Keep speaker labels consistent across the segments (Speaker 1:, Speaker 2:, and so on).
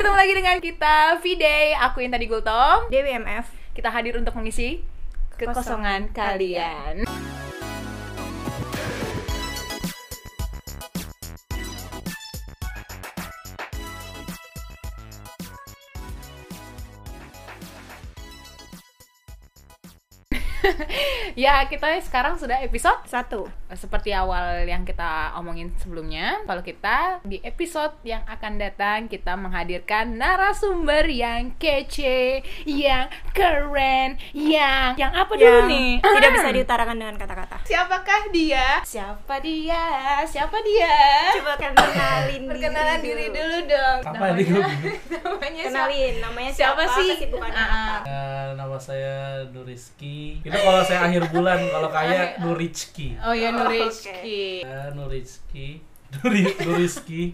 Speaker 1: bertemu lagi dengan kita V-Day. Aku Intan Gultom.
Speaker 2: DWMF
Speaker 1: Kita hadir untuk mengisi kekosongan
Speaker 2: Kekosongan kalian.
Speaker 1: kalian. ya, kita sekarang sudah episode
Speaker 2: satu
Speaker 1: seperti awal yang kita omongin sebelumnya, kalau kita di episode yang akan datang kita menghadirkan narasumber yang kece, yang keren, yang yang apa dulu
Speaker 2: yang
Speaker 1: nih?
Speaker 2: tidak
Speaker 1: Ahem.
Speaker 2: bisa diutarakan dengan kata-kata.
Speaker 1: Siapakah dia? Siapa dia? Siapa dia?
Speaker 2: Coba kan kenalin diri
Speaker 1: Perkenalan diri
Speaker 2: dulu.
Speaker 1: dulu dong.
Speaker 3: Apa ini dulu?
Speaker 1: namanya siapa?
Speaker 2: Kenalin namanya
Speaker 1: Siapa
Speaker 2: siapa,
Speaker 1: sih?
Speaker 2: Kesibukannya
Speaker 1: Ah, ah.
Speaker 2: apa? Oh,
Speaker 3: Eh, nama saya Nurizki. Itu kalau saya akhir bulan, kalau kaya Nurizki.
Speaker 1: Oh ya
Speaker 2: Oh,
Speaker 1: Nurizki.
Speaker 3: Eh, Nurizki. Nuri, Nurizki.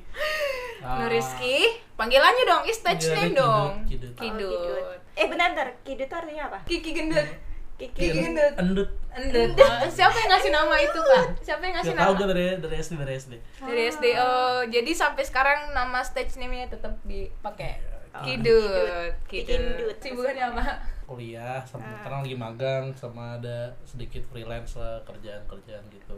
Speaker 3: Ah,
Speaker 1: Nurizki, panggilannya dong, is stage
Speaker 3: Iya,
Speaker 1: name
Speaker 3: Kidut,
Speaker 1: dong.
Speaker 3: Kidut.
Speaker 2: Oh,
Speaker 1: Kidut.
Speaker 2: Eh bentar, bentar. Kidut tuh artinya apa?
Speaker 1: Kiki gendut.
Speaker 2: Kiki.
Speaker 1: Kiki gendut.
Speaker 3: Kidut. Endut.
Speaker 1: Endut. Eh, Siapa yang ngasih nama itu, Kak? Siapa yang ngasih
Speaker 3: Gak
Speaker 1: nama?
Speaker 3: tau gue dari, dari SD, dari SD.
Speaker 1: Dari SD. Oh, jadi sampai sekarang nama stage name-nya tetap dipakai. Kidut,
Speaker 2: Oh. Kidut.
Speaker 1: Kidut.
Speaker 2: Kidut.
Speaker 1: Sibukannya apa?
Speaker 3: Kuliah, sama
Speaker 1: Ah.
Speaker 3: sekarang lagi magang, sama ada sedikit freelance lah, kerjaan-kerjaan gitu.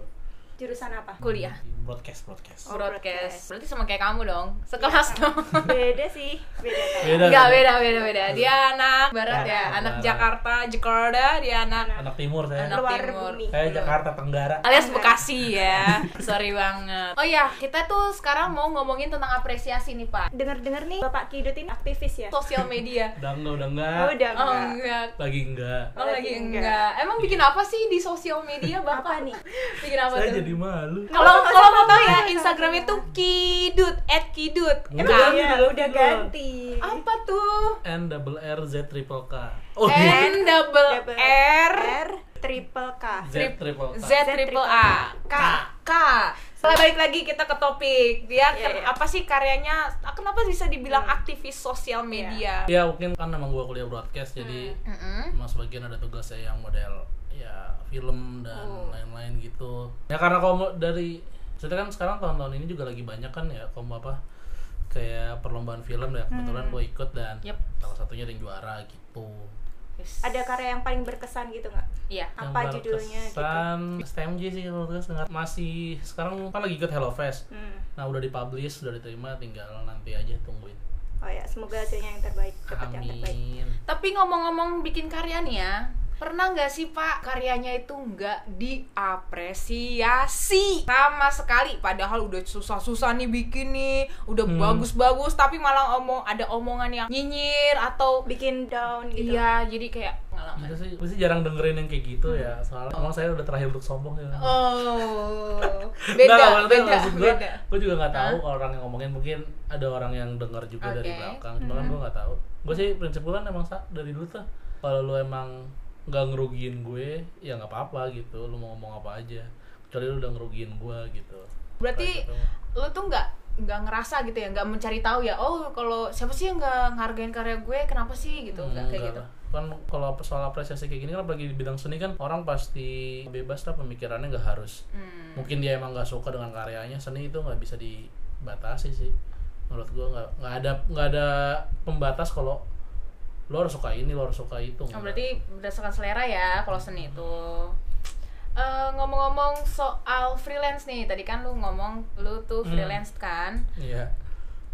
Speaker 2: Jurusan apa?
Speaker 1: Kuliah.
Speaker 3: Broadcast, broadcast.
Speaker 2: Oh,
Speaker 1: Broadcast.
Speaker 2: broadcast. Iya.
Speaker 1: Berarti sama kayak kamu dong. Sekelas dong.
Speaker 2: Beda sih, beda kan.
Speaker 3: Beda.
Speaker 1: Enggak, beda, beda, beda. Dia anak barat
Speaker 3: Anak
Speaker 1: ya, anak
Speaker 3: barat.
Speaker 1: Jakarta, Jakarta, dia anak
Speaker 3: Anak timur saya.
Speaker 1: anak
Speaker 2: Luar
Speaker 1: timur.
Speaker 2: bumi.
Speaker 3: Saya Jakarta Tenggara.
Speaker 1: alias Bekasi ya. Sorry banget. Oh ya, kita tuh sekarang mau ngomongin tentang apresiasi nih, Pak.
Speaker 2: Dengar-dengar nih Bapak Kidut ini aktivis ya?
Speaker 1: Sosial media.
Speaker 3: Udah enggak, udah enggak.
Speaker 2: Oh, udah
Speaker 1: Oh
Speaker 2: enggak.
Speaker 1: enggak,
Speaker 3: Lagi enggak.
Speaker 1: Oh lagi
Speaker 2: Lagi
Speaker 1: enggak.
Speaker 2: enggak.
Speaker 1: Emang bikin apa sih di sosial media
Speaker 2: Apa
Speaker 1: bapak?
Speaker 2: nih?
Speaker 1: bikin apa
Speaker 3: Saya
Speaker 1: tuh?
Speaker 3: jadi malu.
Speaker 1: Kalau
Speaker 2: Apa,
Speaker 1: kalau mau
Speaker 2: apa,
Speaker 1: tahu ya
Speaker 2: apa,
Speaker 1: Instagram
Speaker 2: apa?
Speaker 1: itu kidut @kidut.
Speaker 3: Enggak.
Speaker 1: Emang
Speaker 2: Iya,
Speaker 3: Kidut.
Speaker 2: udah ganti.
Speaker 1: apa tuh?
Speaker 3: N double R Z triple K. Oh,
Speaker 1: N double
Speaker 2: Double
Speaker 1: R
Speaker 2: R triple K.
Speaker 3: Z triple
Speaker 1: Z
Speaker 3: K.
Speaker 1: triple A
Speaker 2: K.
Speaker 1: K. Setelah balik lagi kita ke topik dia
Speaker 2: Iya,
Speaker 1: ker-
Speaker 2: iya. Hmm.
Speaker 1: apa sih karyanya? ah, Kenapa bisa dibilang aktivis sosial media?
Speaker 2: Iya.
Speaker 3: Ya mungkin kan emang gua kuliah broadcast jadi
Speaker 1: Mm-mm.
Speaker 3: emang sebagian ada tugas saya yang model ya film dan lain-lain gitu. Ya karena kalau mau dari saya kan sekarang tahun-tahun ini juga lagi banyak kan ya kamu apa kayak perlombaan film ya kebetulan gua ikut dan
Speaker 1: Yep.
Speaker 3: salah satunya ada yang juara gitu.
Speaker 1: Yes.
Speaker 2: Ada karya yang paling berkesan gitu nggak?
Speaker 1: Iya.
Speaker 2: Apa judulnya gitu?
Speaker 3: Kesan STMJ sih kalau nggak salah. masih sekarang kan lagi ikut Hello Fresh.
Speaker 2: Hmm.
Speaker 3: Nah udah dipublish, udah diterima, tinggal nanti aja tungguin.
Speaker 2: Oh ya, semoga hasilnya yang terbaik, dapat yang terbaik.
Speaker 3: Amin.
Speaker 1: Tapi ngomong-ngomong bikin karya nih ya, pernah nggak sih Pak karyanya itu nggak diapresiasi sama sekali? Padahal udah susah-susah nih bikin nih, udah
Speaker 3: Hmm.
Speaker 1: bagus-bagus, tapi malah omong ada omongan yang nyinyir atau
Speaker 2: Bikin down gitu.
Speaker 1: iya, jadi kayak pengalaman.
Speaker 3: Itu sih, gue sih jarang dengerin yang kayak gitu ya.
Speaker 1: Hmm.
Speaker 3: Soalnya emang saya udah terakhir untuk sombong ya.
Speaker 1: Oh,
Speaker 3: Nggak,
Speaker 1: beda,
Speaker 3: maksudnya
Speaker 1: beda,
Speaker 3: maksud gue,
Speaker 1: beda.
Speaker 3: gue juga nggak tahu orang yang ngomongin mungkin ada orang yang dengar juga dari
Speaker 1: Oke. Hmm.
Speaker 3: belakang. Cuma kan gue nggak tahu. Gue sih prinsip gue kan emang sa- dari dulu tuh kalau lu emang nggak ngerugiin gue, ya nggak apa-apa gitu. Lu mau ngomong apa aja. Kecuali lu udah ngerugiin gue gitu.
Speaker 1: Berarti
Speaker 3: Kayak gitu.
Speaker 1: lu tuh nggak nggak ngerasa gitu ya, nggak mencari tahu ya. Oh, kalau siapa sih yang nggak ngargain karya gue? Kenapa sih gitu? Nggak kayak
Speaker 3: Enggak
Speaker 1: gitu.
Speaker 3: lah. kan kalau soal apresiasi kayak gini kan apalagi di bidang seni kan orang pasti bebas lah pemikirannya nggak harus
Speaker 1: Hmm.
Speaker 3: mungkin dia emang nggak suka dengan karyanya seni itu nggak bisa dibatasi sih menurut gua nggak nggak ada nggak ada pembatas kalau lo harus suka ini lo harus suka itu
Speaker 1: Oh, berarti berdasarkan selera ya kalau seni itu. Eh, ngomong-ngomong soal freelance nih, tadi kan lu ngomong lu tuh
Speaker 3: Hmm.
Speaker 1: freelance kan.
Speaker 3: iya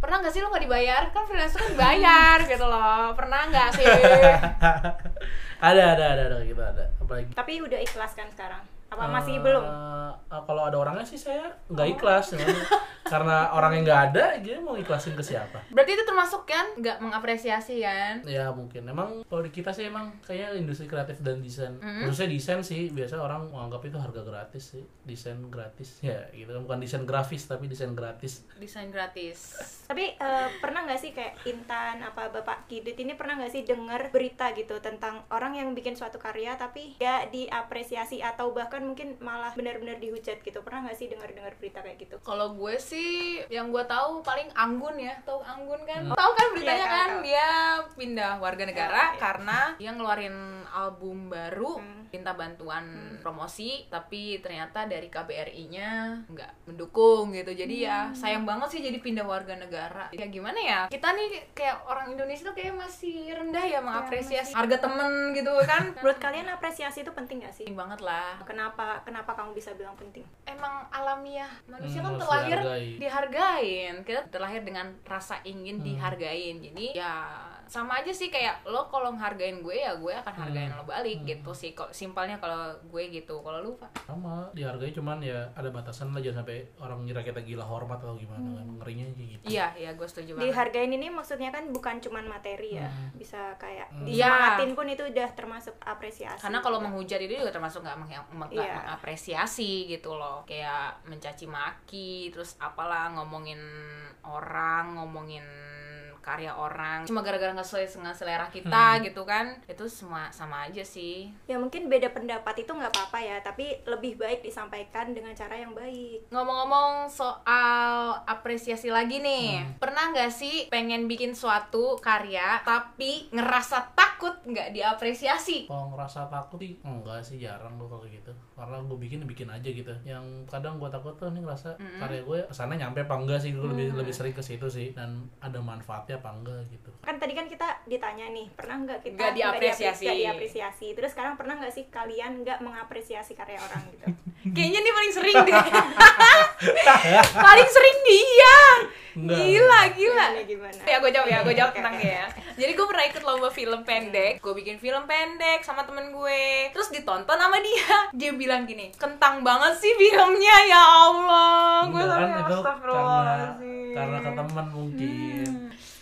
Speaker 1: Pernah nggak sih lu nggak dibayar? Kan freelance tuh kan dibayar gitu loh. Pernah nggak sih?
Speaker 3: ada ada ada ada gitu ada apalagi
Speaker 2: Tapi udah ikhlas kan sekarang? Apa masih
Speaker 3: Eh,
Speaker 2: belum?
Speaker 3: eh, kalau ada orangnya sih saya nggak ikhlas cuman karena orangnya nggak ada dia mau ikhlasin ke siapa
Speaker 1: Berarti itu termasuk kan nggak mengapresiasi kan?
Speaker 3: ya mungkin emang kalau di kita sih emang kayaknya industri kreatif dan desain khususnya desain sih biasa orang menganggap itu harga gratis sih desain gratis ya gitu kan bukan desain grafis tapi desain gratis
Speaker 1: Desain gratis.
Speaker 2: Tapi eh, pernah nggak sih kayak Intan apa Bapak Kidut ini pernah nggak sih dengar berita gitu tentang orang yang bikin suatu karya tapi nggak diapresiasi atau bahkan bahkan mungkin malah benar-benar dihujat gitu pernah nggak sih dengar-dengar berita kayak gitu
Speaker 1: Kalau gue sih yang gue tahu paling Anggun ya, tahu Anggun kan? Tahu kan beritanya
Speaker 2: Iya, tahu,
Speaker 1: kan
Speaker 2: tahu.
Speaker 1: dia pindah warga negara
Speaker 2: Oh, iya.
Speaker 1: karena dia ngeluarin album baru,
Speaker 2: Hmm.
Speaker 1: minta bantuan promosi, tapi ternyata dari KBRI-nya nggak mendukung gitu. Jadi ya
Speaker 2: Hmm.
Speaker 1: sayang banget sih jadi pindah warga negara. Ya gimana ya? Kita nih kayak orang Indonesia tuh kayak masih rendah ya
Speaker 2: Iya,
Speaker 1: mengapresiasi harga temen gitu kan?
Speaker 2: menurut kalian apresiasi itu penting nggak sih
Speaker 1: Penting banget lah.
Speaker 2: kenapa kenapa kamu bisa bilang penting
Speaker 1: emang alamiah manusia kan
Speaker 3: Hmm, harus
Speaker 1: terlahir
Speaker 3: dihargai.
Speaker 1: dihargain kita terlahir dengan rasa ingin
Speaker 3: Hmm.
Speaker 1: dihargain jadi ya sama aja sih kayak lo kalau ngehargain gue ya gue akan hargain
Speaker 3: Hmm.
Speaker 1: lo balik
Speaker 3: Hmm.
Speaker 1: gitu sih kalau simpelnya kalau gue gitu kalau lu Pak?
Speaker 3: sama dihargai cuman ya ada batasan lah jangan sampai orang ngira kita gila hormat atau gimana kan ngerinya kayak gitu
Speaker 1: Hmm. iya iya gue setuju banget
Speaker 2: dihargain ini maksudnya kan bukan cuman materi ya
Speaker 3: Hmm.
Speaker 2: bisa kayak
Speaker 3: Hmm.
Speaker 2: disemangatin pun itu udah termasuk apresiasi
Speaker 1: Iya. karena kalau menghujat itu juga termasuk nggak meng- meng- nggak
Speaker 2: Iya.
Speaker 1: mengapresiasi gitu loh kayak mencaci maki terus apalah ngomongin orang ngomongin karya orang cuma gara-gara nggak sesuai dengan selera
Speaker 3: Hmm.
Speaker 1: kita gitu kan itu semua sama aja sih
Speaker 2: ya mungkin beda pendapat itu nggak apa-apa ya tapi lebih baik disampaikan dengan cara yang baik
Speaker 1: ngomong-ngomong soal apresiasi lagi nih
Speaker 3: Hmm.
Speaker 1: pernah nggak sih pengen bikin suatu karya tapi ngerasa takut nggak diapresiasi
Speaker 3: kalau ngerasa takut sih enggak sih jarang gue kalau kayak gitu karena gue bikin bikin aja gitu yang kadang gue takut tuh nih ngerasa karya gue kesana nyampe apa enggak sih gue lebih
Speaker 1: Mm.
Speaker 3: lebih sering ke situ sih dan ada manfaatnya apa enggak gitu
Speaker 2: kan tadi kan kita ditanya nih pernah nggak kita
Speaker 1: Nggak
Speaker 2: nggak
Speaker 1: diapresiasi.
Speaker 2: diapre- nggak diapresiasi terus sekarang pernah nggak sih kalian nggak mengapresiasi karya orang gitu
Speaker 3: Hmm.
Speaker 1: kayaknya nih paling sering deh paling sering dia
Speaker 3: Enggak.
Speaker 1: gila gila
Speaker 2: Gimana, gimana
Speaker 1: ya gue jawab ya gue jawab
Speaker 2: Iya, Oke,
Speaker 1: tentang
Speaker 2: oke.
Speaker 1: dia ya jadi gue pernah ikut lomba film pendek gue bikin film pendek sama temen gue terus ditonton sama dia dia bilang gini kentang banget sih filmnya ya allah gue
Speaker 3: Enggak
Speaker 1: Oh, sampai
Speaker 3: kan itu karena
Speaker 1: astagfirullahaladzim Hmm.
Speaker 3: karena ke teman mungkin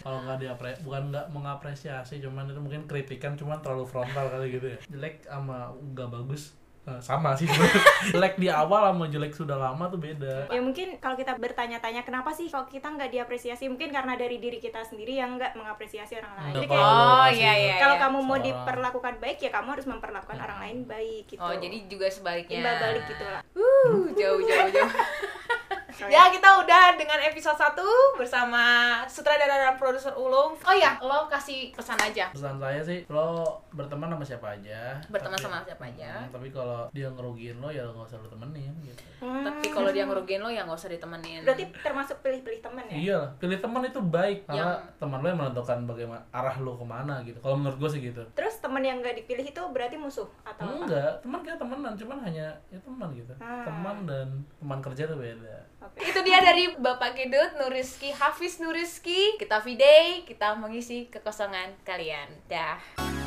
Speaker 3: kalau nggak diapre bukan nggak mengapresiasi cuman itu mungkin kritikan cuman terlalu frontal kali gitu ya jelek sama nggak bagus eh, sama sih sebenarnya. jelek di awal sama jelek sudah lama tuh beda
Speaker 2: ya mungkin kalau kita bertanya-tanya kenapa sih kalau kita nggak diapresiasi mungkin karena dari diri kita sendiri yang nggak mengapresiasi orang lain
Speaker 3: Nggak
Speaker 2: Jadi kayak,
Speaker 1: oh
Speaker 3: Evaluasi
Speaker 1: iya
Speaker 3: itu.
Speaker 1: iya
Speaker 2: kalau
Speaker 1: iya.
Speaker 2: kamu mau
Speaker 3: Seorang.
Speaker 2: diperlakukan baik ya kamu harus memperlakukan orang lain baik gitu
Speaker 1: oh jadi juga sebaliknya
Speaker 2: imbal balik gitu lah
Speaker 1: Uh, jauh jauh jauh. ya kita udah dengan episode 1 bersama sutradara dan produser Ulung. Oh ya, lo kasih pesan aja.
Speaker 3: pesan saya sih lo berteman sama siapa aja
Speaker 1: Berteman
Speaker 3: tapi-
Speaker 1: sama siapa aja.
Speaker 3: Hmm, tapi kalau dia ngerugiin lo ya nggak usah lo temenin gitu
Speaker 2: Hmm.
Speaker 1: Tapi kalau dia ngerugiin lo ya nggak usah ditemenin.
Speaker 2: berarti termasuk pilih-pilih teman ya
Speaker 3: Iya, pilih teman itu baik karena
Speaker 1: Yang-
Speaker 3: teman lo yang menentukan bagaimana arah lo kemana gitu. Kalau menurut gue sih gitu.
Speaker 2: terus teman yang nggak dipilih itu berarti musuh atau apa
Speaker 3: Enggak, teman kita temenan, cuman hanya ya teman gitu.
Speaker 2: Ah.
Speaker 3: Teman dan teman kerja tuh beda.
Speaker 2: Oke.
Speaker 1: Itu dia dari Bapak Kedut, Nuriski, Hafiz Nuriski. Kita V-Day, kita mengisi kekosongan kalian. Dah.